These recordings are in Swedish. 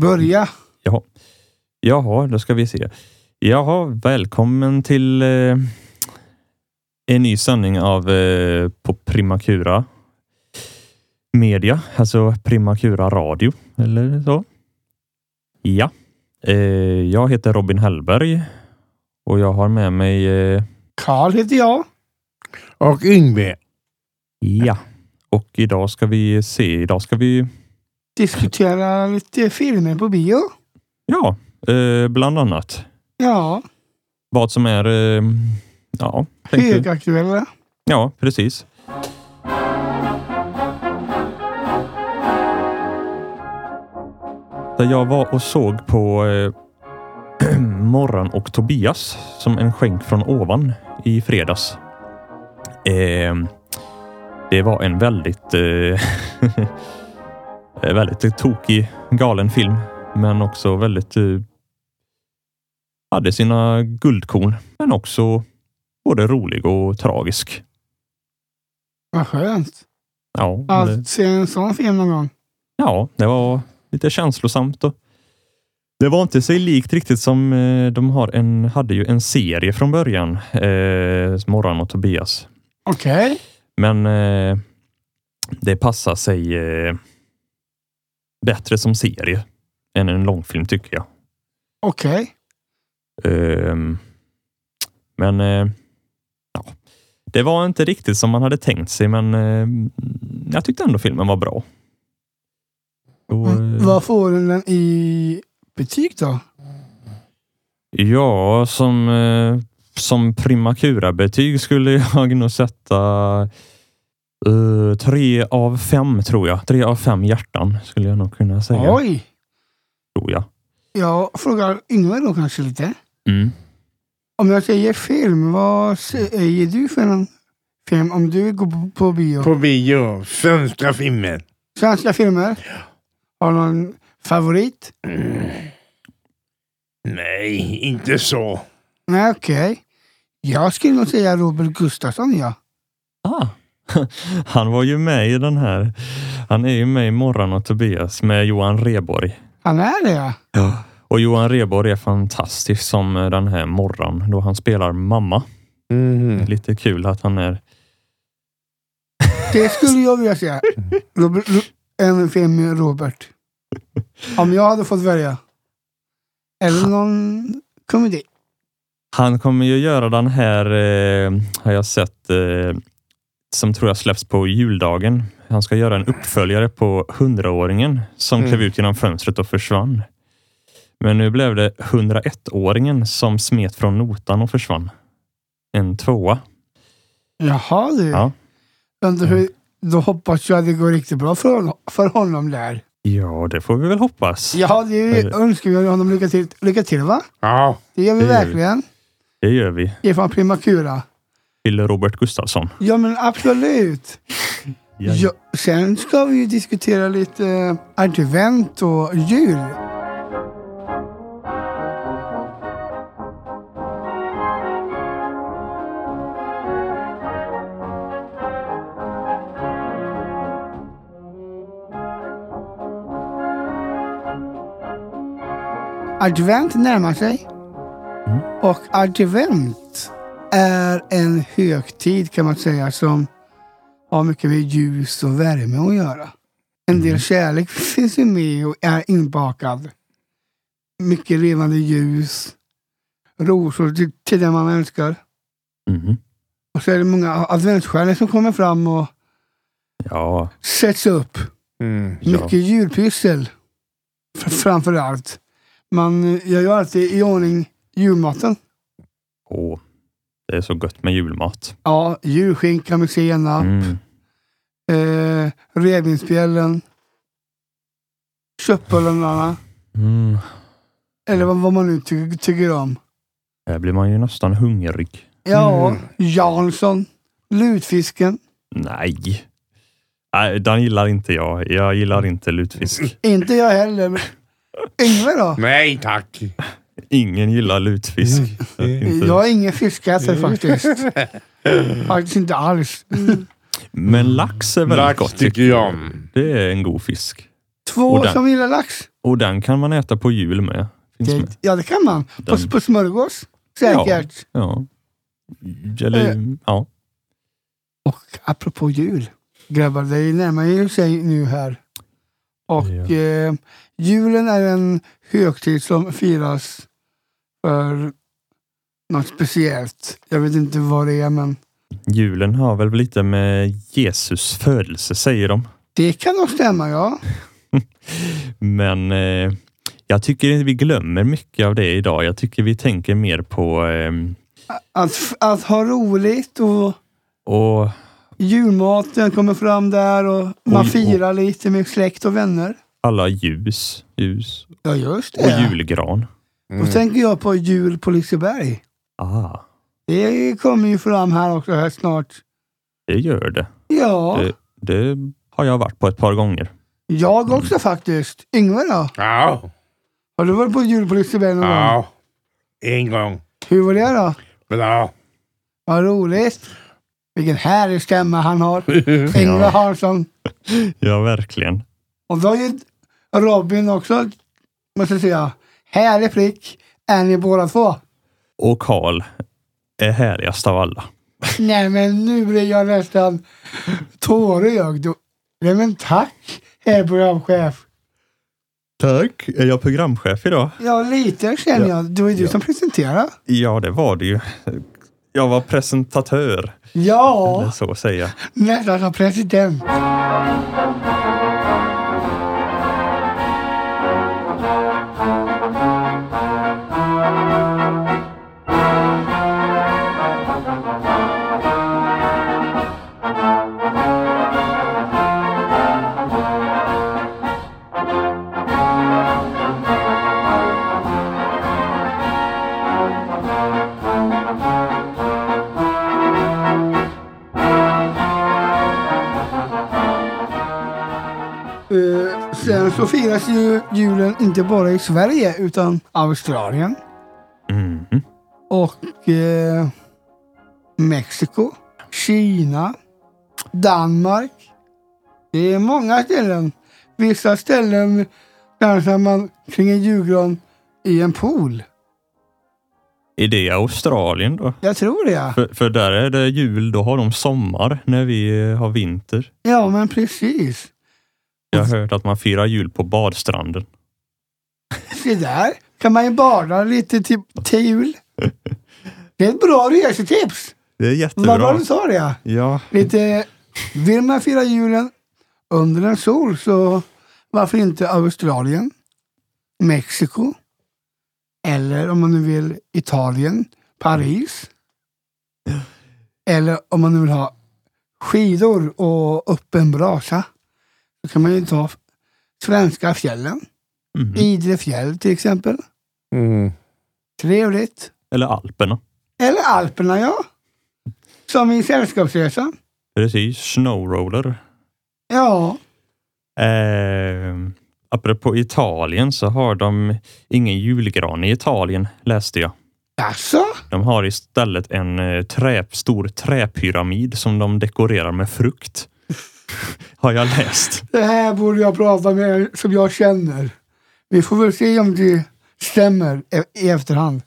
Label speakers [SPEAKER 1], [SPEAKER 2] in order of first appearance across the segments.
[SPEAKER 1] Börja.
[SPEAKER 2] Jaha. Jaha, då ska vi se. Jaha, välkommen till eh, en ny sändning av eh, på Primakura Media, alltså Primakura Radio eller så. Ja, eh, jag heter Robin Hellberg och jag har med mig eh,
[SPEAKER 1] Karl heter jag.
[SPEAKER 3] Och Yngve.
[SPEAKER 2] Ja, och idag ska vi se. Idag ska vi
[SPEAKER 1] Diskutera lite filmer på bio.
[SPEAKER 2] ja, eh, bland annat
[SPEAKER 1] Ja,
[SPEAKER 2] vad som är eh, ja, tänkte-
[SPEAKER 1] högaktuella.
[SPEAKER 2] Ja, precis. Där jag var och såg på eh, Morran och Tobias som en skänk från ovan i fredags. Eh, det var en väldigt, eh, väldigt tokig, galen film, men också väldigt eh, hade sina guldkorn, men också både rolig och tragisk.
[SPEAKER 1] Vad skönt
[SPEAKER 2] Ja, det-
[SPEAKER 1] att se en sån film någon gång.
[SPEAKER 2] ja, det var lite känslosamt. Och det var inte sig likt riktigt som eh, de har en, hade ju en serie från början, eh, Morran och Tobias.
[SPEAKER 1] Okej.
[SPEAKER 2] Men eh, det passar sig eh, bättre som serie än en långfilm tycker jag.
[SPEAKER 1] Okej.
[SPEAKER 2] Ehm, men eh, ja, det var inte riktigt som man hade tänkt sig, men eh, jag tyckte ändå filmen var bra. Och,
[SPEAKER 1] Mm,
[SPEAKER 2] eh,
[SPEAKER 1] Vad får den i betyg då?
[SPEAKER 2] Ja, som, eh, som primakura-betyg skulle jag nog sätta eh, tre av fem tror jag. Tre av fem hjärtan skulle jag nog kunna säga.
[SPEAKER 1] Oj!
[SPEAKER 2] Tror jag.
[SPEAKER 1] Jag frågar Yngve då kanske lite.
[SPEAKER 2] Mm.
[SPEAKER 1] Om jag säger film, vad säger du för en film om du går på- på bio?
[SPEAKER 3] På bio. Svenska filmen.
[SPEAKER 1] Svenska filmer? Har du någon favorit?
[SPEAKER 3] Nej, inte så.
[SPEAKER 1] Nej, okej. Jag skulle nog säga Robert Gustafsson, ja.
[SPEAKER 2] Ah. Han var ju med i den här. Han är ju med i Morran och Tobias med Johan Reborg.
[SPEAKER 1] Han är det, ja.
[SPEAKER 2] Och Johan Reborg är fantastisk som eh, den här Morran då han spelar mamma.
[SPEAKER 3] Mm.
[SPEAKER 2] Lite kul att han är
[SPEAKER 1] Det skulle jag vilja säga. Robert, en film med Robert. Om jag hade fått välja. Eller någon komedi.
[SPEAKER 2] Han kommer ju göra den här, eh, har jag sett, eh, som tror jag släpps på juldagen. Han ska göra en uppföljare på hundraåringen som
[SPEAKER 3] Mm.
[SPEAKER 2] klev ut genom fönstret och försvann. Men nu blev det 101-åringen som smet från notan och försvann. En tvåa.
[SPEAKER 1] Jaha du.
[SPEAKER 2] Ja.
[SPEAKER 1] Undrar hur, då hoppas jag att det går riktigt bra för honom, för honom där.
[SPEAKER 2] Ja, det får vi väl hoppas.
[SPEAKER 1] Ja, det
[SPEAKER 2] Eller-
[SPEAKER 1] önskar vi honom lycka till, lycka till va?
[SPEAKER 3] Ja.
[SPEAKER 1] Det gör vi
[SPEAKER 2] Det gör vi.
[SPEAKER 1] verkligen.
[SPEAKER 2] Det gör vi.
[SPEAKER 1] Ifrån Primakura.
[SPEAKER 2] Till Robert Gustafsson.
[SPEAKER 1] Ja men absolut.
[SPEAKER 2] Ja.
[SPEAKER 1] Ja, sen ska vi ju diskutera lite eh, advent och jul. Advent närmar sig. Och advent är en högtid kan man säga som har mycket med ljus och värme att göra. En
[SPEAKER 2] Mm.
[SPEAKER 1] del kärlek finns ju med och är inbakad. Mycket levande ljus, rosor till, till den man önskar.
[SPEAKER 2] Mhm.
[SPEAKER 1] Och så är det många adventsstjärnor som kommer fram och
[SPEAKER 2] ja.
[SPEAKER 1] sätts upp.
[SPEAKER 3] Mm.
[SPEAKER 2] Ja.
[SPEAKER 1] Mycket julpyssel. F- framför allt. Man eh, gör ju alltid i ordning julmaten.
[SPEAKER 2] Åh, det är så gött med julmat.
[SPEAKER 1] Ja, julskinka med senap.
[SPEAKER 2] Mm.
[SPEAKER 1] eh, revbensspjällen, köttbullarna
[SPEAKER 2] Mm.
[SPEAKER 1] eller vad, vad man nu ty- tycker om.
[SPEAKER 2] Här blir man ju nästan hungrig.
[SPEAKER 1] Ja,
[SPEAKER 3] Mm.
[SPEAKER 1] Jansson, lutfisken,
[SPEAKER 2] Nej. Nej, den gillar inte jag. Jag gillar inte lutfisk.
[SPEAKER 1] inte jag heller. men- Yngve då?
[SPEAKER 3] Nej tack.
[SPEAKER 2] Ingen gillar lutfisk. Inte. Mm.
[SPEAKER 1] Jag är ingen fiskätare faktiskt. Faktiskt inte alls.
[SPEAKER 2] Men lax är väldigt
[SPEAKER 3] Lax
[SPEAKER 2] gott.
[SPEAKER 3] tycker jag Mm. om.
[SPEAKER 2] Det är en god fisk.
[SPEAKER 1] Två
[SPEAKER 2] Och den-
[SPEAKER 1] som gillar lax.
[SPEAKER 2] Och den kan man äta på jul med. Finns med.
[SPEAKER 1] Det, ja, det kan man. På,
[SPEAKER 2] Den-
[SPEAKER 1] på smörgås säkert.
[SPEAKER 2] Ja. Eller, ja.
[SPEAKER 1] Och apropå jul, grabbar, det närmar ju sig nu här. Och
[SPEAKER 2] Ja.
[SPEAKER 1] eh, julen är en högtid som firas för något speciellt. Jag vet inte vad det är, men
[SPEAKER 2] Julen har väl lite med Jesus födelse, säger de.
[SPEAKER 1] det kan nog stämma, ja.
[SPEAKER 2] Men eh, jag tycker vi glömmer mycket av det idag. Jag tycker vi tänker mer på eh,
[SPEAKER 1] Att, att ha roligt och
[SPEAKER 2] och
[SPEAKER 1] julmaten kommer fram där och man
[SPEAKER 2] Oj,
[SPEAKER 1] firar lite med släkt och vänner.
[SPEAKER 2] alla ljus, ljus
[SPEAKER 1] Ja, just
[SPEAKER 2] och
[SPEAKER 1] det. Mm.
[SPEAKER 2] julgran.
[SPEAKER 1] Då tänker jag på jul på Liseberg.
[SPEAKER 2] Ah,
[SPEAKER 1] Det kommer ju fram här också här snart.
[SPEAKER 2] det gör det.
[SPEAKER 1] Ja,
[SPEAKER 2] det. Det har jag varit på ett par gånger.
[SPEAKER 1] jag också faktiskt. Yngve då?
[SPEAKER 3] Ja.
[SPEAKER 1] Har du varit på jul på Liseberg någon gång?
[SPEAKER 3] Ja. En gång.
[SPEAKER 1] Hur var det då?
[SPEAKER 3] Bra.
[SPEAKER 1] Vad roligt. Vilken härlig stämma han har. Yngve Hansson.
[SPEAKER 2] Ja, verkligen.
[SPEAKER 1] Och då är ju Robin också, måste jag säga, härlig prick. Är ni båda två?
[SPEAKER 2] Och Karl är härligast av alla.
[SPEAKER 1] Nej men nu blir jag nästan tårögd. Nej men tack, herr programchef.
[SPEAKER 2] Tack. Är jag programchef idag?
[SPEAKER 1] Ja lite känner jag. Det var ju du
[SPEAKER 2] Ja.
[SPEAKER 1] som presenterade.
[SPEAKER 2] Ja, det var det ju. Jag var presentatör, eller
[SPEAKER 1] Ja,
[SPEAKER 2] så att säga.
[SPEAKER 1] nästan som president. Eh, sen så firas ju julen inte bara i Sverige utan Australien
[SPEAKER 2] Mhm.
[SPEAKER 1] och eh, Mexiko, Kina, Danmark. Det är många ställen. Vissa ställen dansar man kring en julgran i en pool.
[SPEAKER 2] Är det Australien då?
[SPEAKER 1] Jag tror det.
[SPEAKER 2] För, för där är det jul, då har de sommar när vi eh, har vinter.
[SPEAKER 1] Ja, men precis.
[SPEAKER 2] Jag har hört att man firar jul på badstranden.
[SPEAKER 1] Se där, kan man ju bada lite till, till jul. Det är ett bra resetips.
[SPEAKER 2] Det är
[SPEAKER 1] Vad bra
[SPEAKER 2] jättebra.
[SPEAKER 1] du sa det.
[SPEAKER 2] Ja,
[SPEAKER 1] Lite, vill man fira julen under en sol så varför inte Australien, Mexiko eller om man nu vill Italien, Paris. Eller om man nu vill ha skidor och öppen brasa. Då kan man ju ta svenska fjällen.
[SPEAKER 2] Mhm.
[SPEAKER 1] Idre fjäll till exempel.
[SPEAKER 3] Mm.
[SPEAKER 1] Trevligt.
[SPEAKER 2] eller Alperna.
[SPEAKER 1] Eller Alperna ja. Som i Sällskapsresan.
[SPEAKER 2] Precis, snowroller.
[SPEAKER 1] Ja.
[SPEAKER 2] Eh, apropå Italien så har de ingen julgran i Italien, läste jag.
[SPEAKER 1] Alltså,
[SPEAKER 2] De har istället en eh, trä, stor träpyramid som de dekorerar med frukt. har jag läst.
[SPEAKER 1] det här borde jag prata med er som jag känner. Vi får väl se om det stämmer e- i efterhand.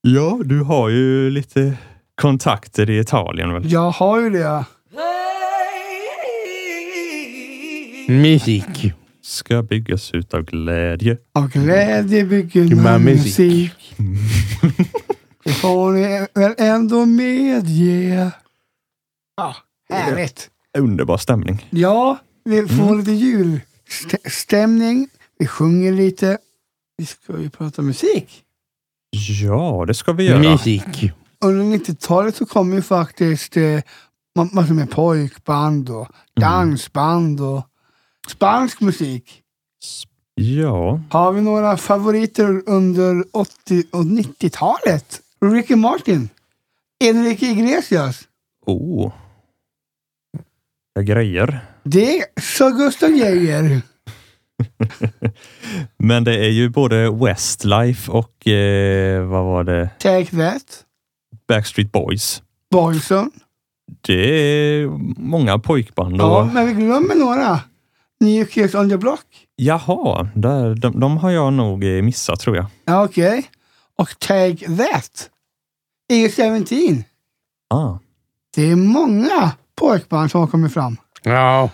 [SPEAKER 2] Ja, du har ju lite kontakter i Italien väl?
[SPEAKER 1] Jag har ju det.
[SPEAKER 3] Musik.
[SPEAKER 2] Ska byggas ut av glädje.
[SPEAKER 1] Av glädje bygger
[SPEAKER 3] Med
[SPEAKER 1] man
[SPEAKER 3] musik.
[SPEAKER 1] musik. Det får ni väl ändå medge. Ja, härligt.
[SPEAKER 2] Underbar stämning.
[SPEAKER 1] Ja, vi får
[SPEAKER 3] Mm.
[SPEAKER 1] lite julstämning. Vi sjunger lite. Vi ska ju prata musik.
[SPEAKER 2] Ja, det ska vi göra.
[SPEAKER 3] Musik.
[SPEAKER 1] Under 90-talet så kom ju faktiskt eh, ma- massor med pojkband och dansband och spansk musik.
[SPEAKER 2] Ja,
[SPEAKER 1] Har vi några favoriter under 80 och 90-talet? Ricky Martin, Enrique Iglesias,
[SPEAKER 2] oh. Jag grejer.
[SPEAKER 1] det sa Gustav Geijer.
[SPEAKER 2] Men det är ju både Westlife och eh, vad var det?
[SPEAKER 1] Take That,
[SPEAKER 2] Backstreet Boys.
[SPEAKER 1] Boyson.
[SPEAKER 2] Det är många pojkband. Och,
[SPEAKER 1] Ja, men vi glömmer några. New Kids on the Block.
[SPEAKER 2] Jaha, där, de, de har jag nog eh, missat tror jag.
[SPEAKER 1] Ja, Okej. Och Take That. E EU-17.
[SPEAKER 2] Ah,
[SPEAKER 1] Det är många pojkband som har kommit fram.
[SPEAKER 3] Ja,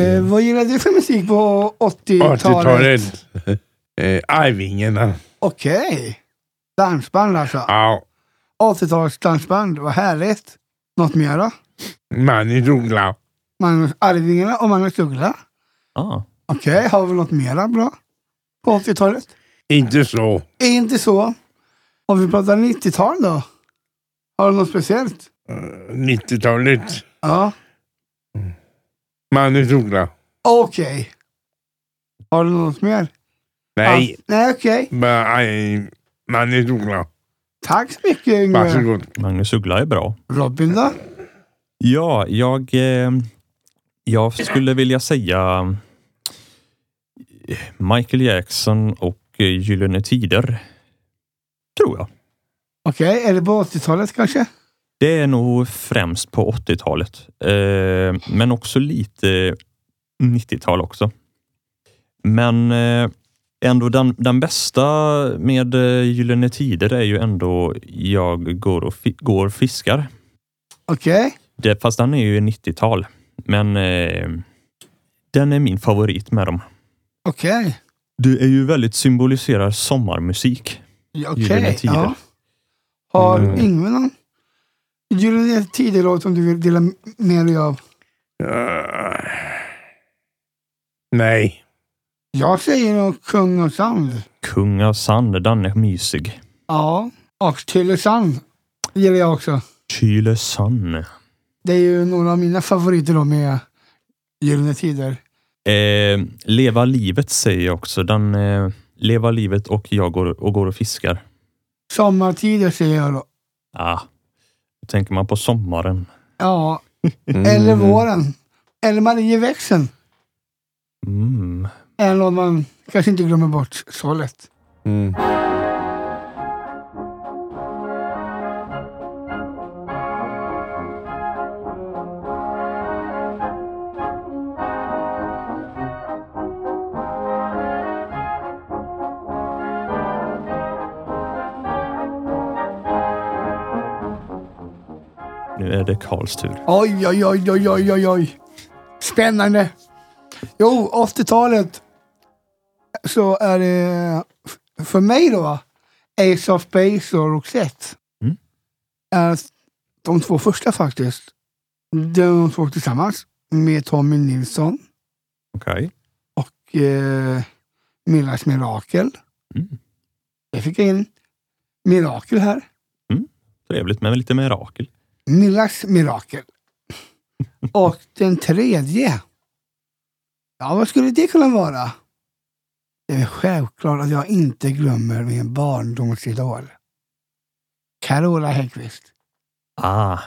[SPEAKER 3] Mm.
[SPEAKER 1] Eh, vad gillade du för musik på 80-talet?
[SPEAKER 3] 80-talet. Eh, Arvingarna.
[SPEAKER 1] Okej. Dansband alltså.
[SPEAKER 3] Ja,
[SPEAKER 1] 80-talets dansband. Vad härligt. Något mer då?
[SPEAKER 3] Magnus Uggla.
[SPEAKER 1] Magnus Arvingarna och Magnus Uggla.
[SPEAKER 2] ah.
[SPEAKER 1] Okej, har vi något mera bra på 80-talet?
[SPEAKER 3] Inte så.
[SPEAKER 1] Inte så. Om vi pratar 90-tal då? Har du något speciellt?
[SPEAKER 3] Eh, 90-talet.
[SPEAKER 1] Ja,
[SPEAKER 3] Magnus Uggla.
[SPEAKER 1] okej. Har du något mer?
[SPEAKER 3] Nej,
[SPEAKER 1] Ja. Nej, okej.
[SPEAKER 3] bara eh, Magnus Uggla.
[SPEAKER 1] Tack så mycket Yngve.
[SPEAKER 3] Varsågod.
[SPEAKER 2] Magnus Uggla är bra.
[SPEAKER 1] Robin då?
[SPEAKER 2] Ja, jag, eh, jag skulle vilja säga eh, Michael Jackson och eh, Gyllene Tider. Tror jag.
[SPEAKER 1] Okej, eller på 80-talet kanske?
[SPEAKER 2] Det är nog främst på 80-talet, eh, men också lite 90-tal också. Men eh, ändå den, den bästa med eh, Gyllene Tider är ju ändå Jag går och fi- går och fiskar.
[SPEAKER 1] Okej.
[SPEAKER 2] Det, fast den är ju 90-tal. Men eh, den är min favorit med dem.
[SPEAKER 1] Okej.
[SPEAKER 2] Det är ju väldigt symboliserar sommarmusik.
[SPEAKER 1] Ja,
[SPEAKER 2] Gyllene
[SPEAKER 1] Okej.
[SPEAKER 2] Tider.
[SPEAKER 1] Ja. Har
[SPEAKER 3] Mm.
[SPEAKER 1] Yngve någon Gyllene Tider-låt som du vill dela med dig av?
[SPEAKER 3] Eh, Nej.
[SPEAKER 1] Jag säger nog Kung och Sand.
[SPEAKER 2] Kung av sand, den är mysig.
[SPEAKER 1] Ja. Och Tylösand gillar jag också.
[SPEAKER 2] Tylösand.
[SPEAKER 1] Det är ju några av mina favoriter då med Gyllene Tider.
[SPEAKER 2] Eh, leva livet säger jag också. Den, eh, leva livet och jag går och, går och fiskar.
[SPEAKER 1] Sommartider säger jag då.
[SPEAKER 2] Ah, då tänker man på sommaren.
[SPEAKER 1] Ja, eller våren. Eller Marieväxeln.
[SPEAKER 2] Mm.
[SPEAKER 1] Är något man kanske inte glömmer bort så lätt.
[SPEAKER 3] Mm.
[SPEAKER 2] Nu är det Karls tur.
[SPEAKER 1] Oj, oj, oj, oj, oj, oj, oj. Spännande. Jo, 80-talet så är det f- för mig då va, Ace of Base och Roxette.
[SPEAKER 2] Mm.
[SPEAKER 1] Är de två första faktiskt. De två tillsammans med Tommy Nilsson.
[SPEAKER 2] Okej.
[SPEAKER 1] och eh, Millas Mirakel.
[SPEAKER 2] Mm.
[SPEAKER 1] Jag fick in Mirakel här.
[SPEAKER 2] Trevligt men lite mirakel.
[SPEAKER 1] Millas Mirakel. och den tredje. Ja, vad skulle det kunna vara? Det är självklart att jag inte glömmer min barndomsidol. Carola Häggkvist.
[SPEAKER 2] Ah,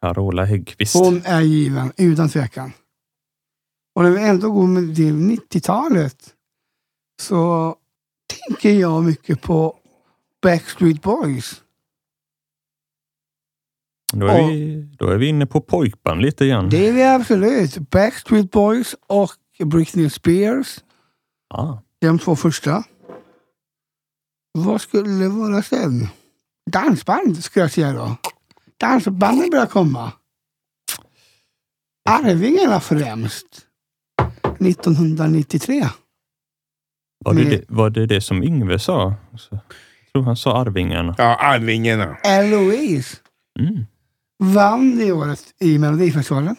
[SPEAKER 2] Carola Häggkvist.
[SPEAKER 1] Hon är given, utan tvekan. Och när vi ändå går med till 90-talet så tänker jag mycket på Backstreet Boys.
[SPEAKER 2] Då är, vi, då är vi inne på pojkband lite igen.
[SPEAKER 1] Det är vi absolut. Backstreet Boys och Britney Spears.
[SPEAKER 2] Ah,
[SPEAKER 1] De två första. Vad skulle det vara sen? Dansband skulle jag säga då. Dansbanden börjar komma. Arvingarna främst. 1993.
[SPEAKER 2] var, det
[SPEAKER 1] Med-
[SPEAKER 2] det, var det det som Yngve sa? Så, jag tror han sa Arvingarna.
[SPEAKER 3] Ja, Arvingarna.
[SPEAKER 1] Eloise
[SPEAKER 2] Mm.
[SPEAKER 1] vann det året i Melodifestivalen.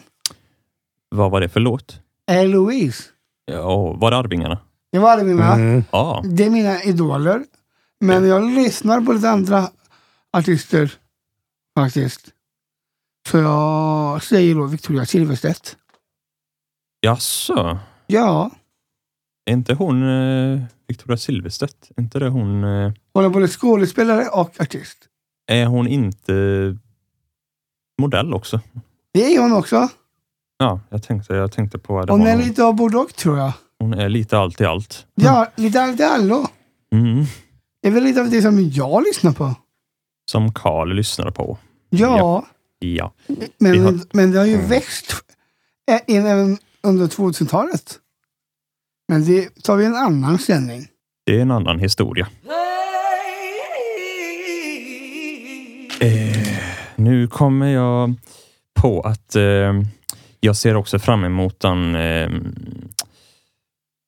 [SPEAKER 2] Vad var det för låt?
[SPEAKER 1] Eloise.
[SPEAKER 2] Ja, var det Arvingarna?
[SPEAKER 1] Det var Arvingarna.
[SPEAKER 3] Mm.
[SPEAKER 2] Ja, ah,
[SPEAKER 1] Det är mina idoler. Men jag lyssnar på lite andra artister faktiskt. Så jag säger då Victoria Silvstedt.
[SPEAKER 2] jaså?
[SPEAKER 1] Ja,
[SPEAKER 2] Är inte hon eh, Victoria Silvstedt? Är inte det hon? Eh,
[SPEAKER 1] hon är både skådespelare och artist.
[SPEAKER 2] är hon inte modell också?
[SPEAKER 1] Det är hon också.
[SPEAKER 2] Ja, jag tänkte, jag tänkte på det.
[SPEAKER 1] Hon
[SPEAKER 2] Hon,
[SPEAKER 1] är lite av både och tror jag.
[SPEAKER 2] hon är lite allt i allt.
[SPEAKER 1] Ja, lite allt i allo.
[SPEAKER 2] Mm.
[SPEAKER 1] Det är väl lite av det som jag lyssnar på.
[SPEAKER 2] Som Karl lyssnade på.
[SPEAKER 1] Ja,
[SPEAKER 2] Ja.
[SPEAKER 1] Men,
[SPEAKER 2] Vi har-
[SPEAKER 1] men det har ju
[SPEAKER 3] Mm.
[SPEAKER 1] växt eh, in även under 2000-talet. Men det tar vi en annan sändning.
[SPEAKER 2] Det är en annan historia. Eh, nu kommer jag på att eh, jag ser också fram emot den, eh,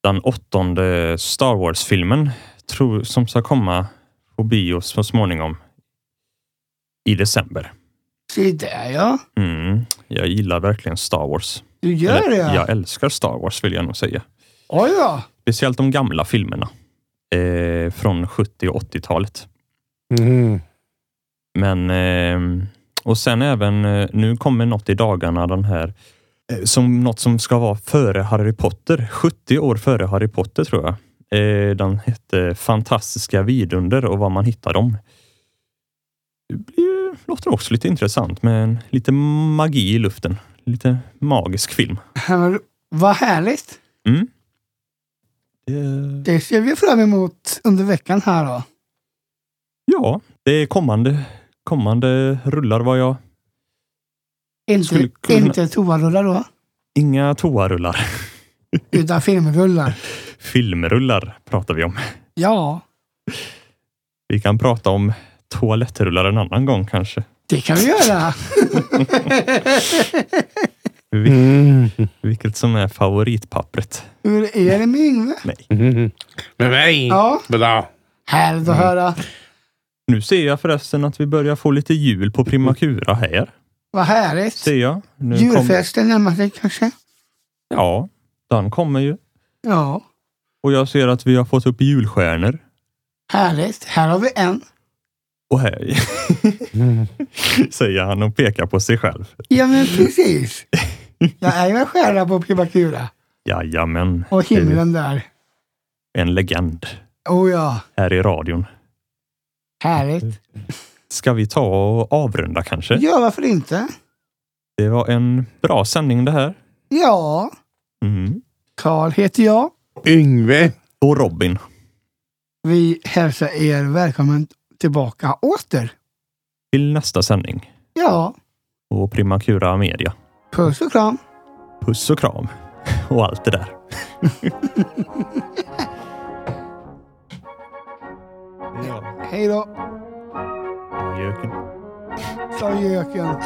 [SPEAKER 2] den åttonde Star Wars-filmen tror- som ska komma på bio så småningom i december.
[SPEAKER 1] Se där ja.
[SPEAKER 2] Mm, jag gillar verkligen Star Wars.
[SPEAKER 1] Du gör
[SPEAKER 2] Eller,
[SPEAKER 1] det
[SPEAKER 2] Jag
[SPEAKER 1] ja.
[SPEAKER 2] älskar Star Wars vill jag nog säga.
[SPEAKER 1] Oj då.
[SPEAKER 2] Speciellt de gamla filmerna eh, från 70 och 80-talet.
[SPEAKER 3] Mhm.
[SPEAKER 2] Men, eh, och sen även, eh, nu kommer något i dagarna, den här, eh, som något som ska vara före Harry Potter, 70 år före Harry Potter tror jag. Eh, den hette Fantastiska vidunder och var man hittar dem. Det blir, låter också lite intressant med en, lite magi i luften. Lite magisk film.
[SPEAKER 1] Men Vad härligt.
[SPEAKER 2] Mm. Det,
[SPEAKER 1] Det ser vi fram emot under veckan här då.
[SPEAKER 2] ja, det är kommande, kommande rullar vad jag... Skulle
[SPEAKER 1] Inte,
[SPEAKER 2] kunna-
[SPEAKER 1] inte toarullar då,
[SPEAKER 2] Inga toarullar.
[SPEAKER 1] utan filmrullar.
[SPEAKER 2] Filmrullar pratar vi om.
[SPEAKER 1] Ja,
[SPEAKER 2] Vi kan prata om toalettrullar en annan gång kanske.
[SPEAKER 1] det kan vi göra.
[SPEAKER 2] Vil-
[SPEAKER 3] Mm.
[SPEAKER 2] Vilket som är favoritpappret.
[SPEAKER 1] Hur är det med Yngve?
[SPEAKER 3] Mhm. Med mig?
[SPEAKER 1] Ja,
[SPEAKER 3] Bra.
[SPEAKER 1] härligt att höra.
[SPEAKER 2] Nu ser jag förresten att vi börjar få lite jul på Primakura här.
[SPEAKER 1] Vad härligt.
[SPEAKER 2] Ser jag. Typ, Nu kom-
[SPEAKER 1] Julfesten närmar sig kanske?
[SPEAKER 2] Ja, den kommer ju.
[SPEAKER 1] Ja,
[SPEAKER 2] Och jag ser att vi har fått upp julstjärnor.
[SPEAKER 1] härligt. Här har vi en.
[SPEAKER 2] Och hej,
[SPEAKER 3] Mm.
[SPEAKER 2] säger han och pekar på sig själv.
[SPEAKER 1] Ja, men precis. Jag är ju en stjärna på Primakura.
[SPEAKER 2] Jajamän.
[SPEAKER 1] Och
[SPEAKER 2] det är
[SPEAKER 1] himlen där.
[SPEAKER 2] En legend
[SPEAKER 1] Oh ja,
[SPEAKER 2] här i radion.
[SPEAKER 1] härligt.
[SPEAKER 2] Ska vi ta och avrunda kanske?
[SPEAKER 1] Ja, varför inte?
[SPEAKER 2] Det var en bra sändning det här.
[SPEAKER 1] Ja,
[SPEAKER 2] Mm.
[SPEAKER 1] Karl heter jag.
[SPEAKER 3] Yngve.
[SPEAKER 2] Och Robin.
[SPEAKER 1] Vi hälsar er välkommen tillbaka åter.
[SPEAKER 2] Till nästa sändning.
[SPEAKER 1] Ja,
[SPEAKER 2] Och Primakura Media.
[SPEAKER 1] puss och kram.
[SPEAKER 2] Puss och kram och allt det där. ja,
[SPEAKER 1] Hej då,
[SPEAKER 2] göken.
[SPEAKER 1] sa göken.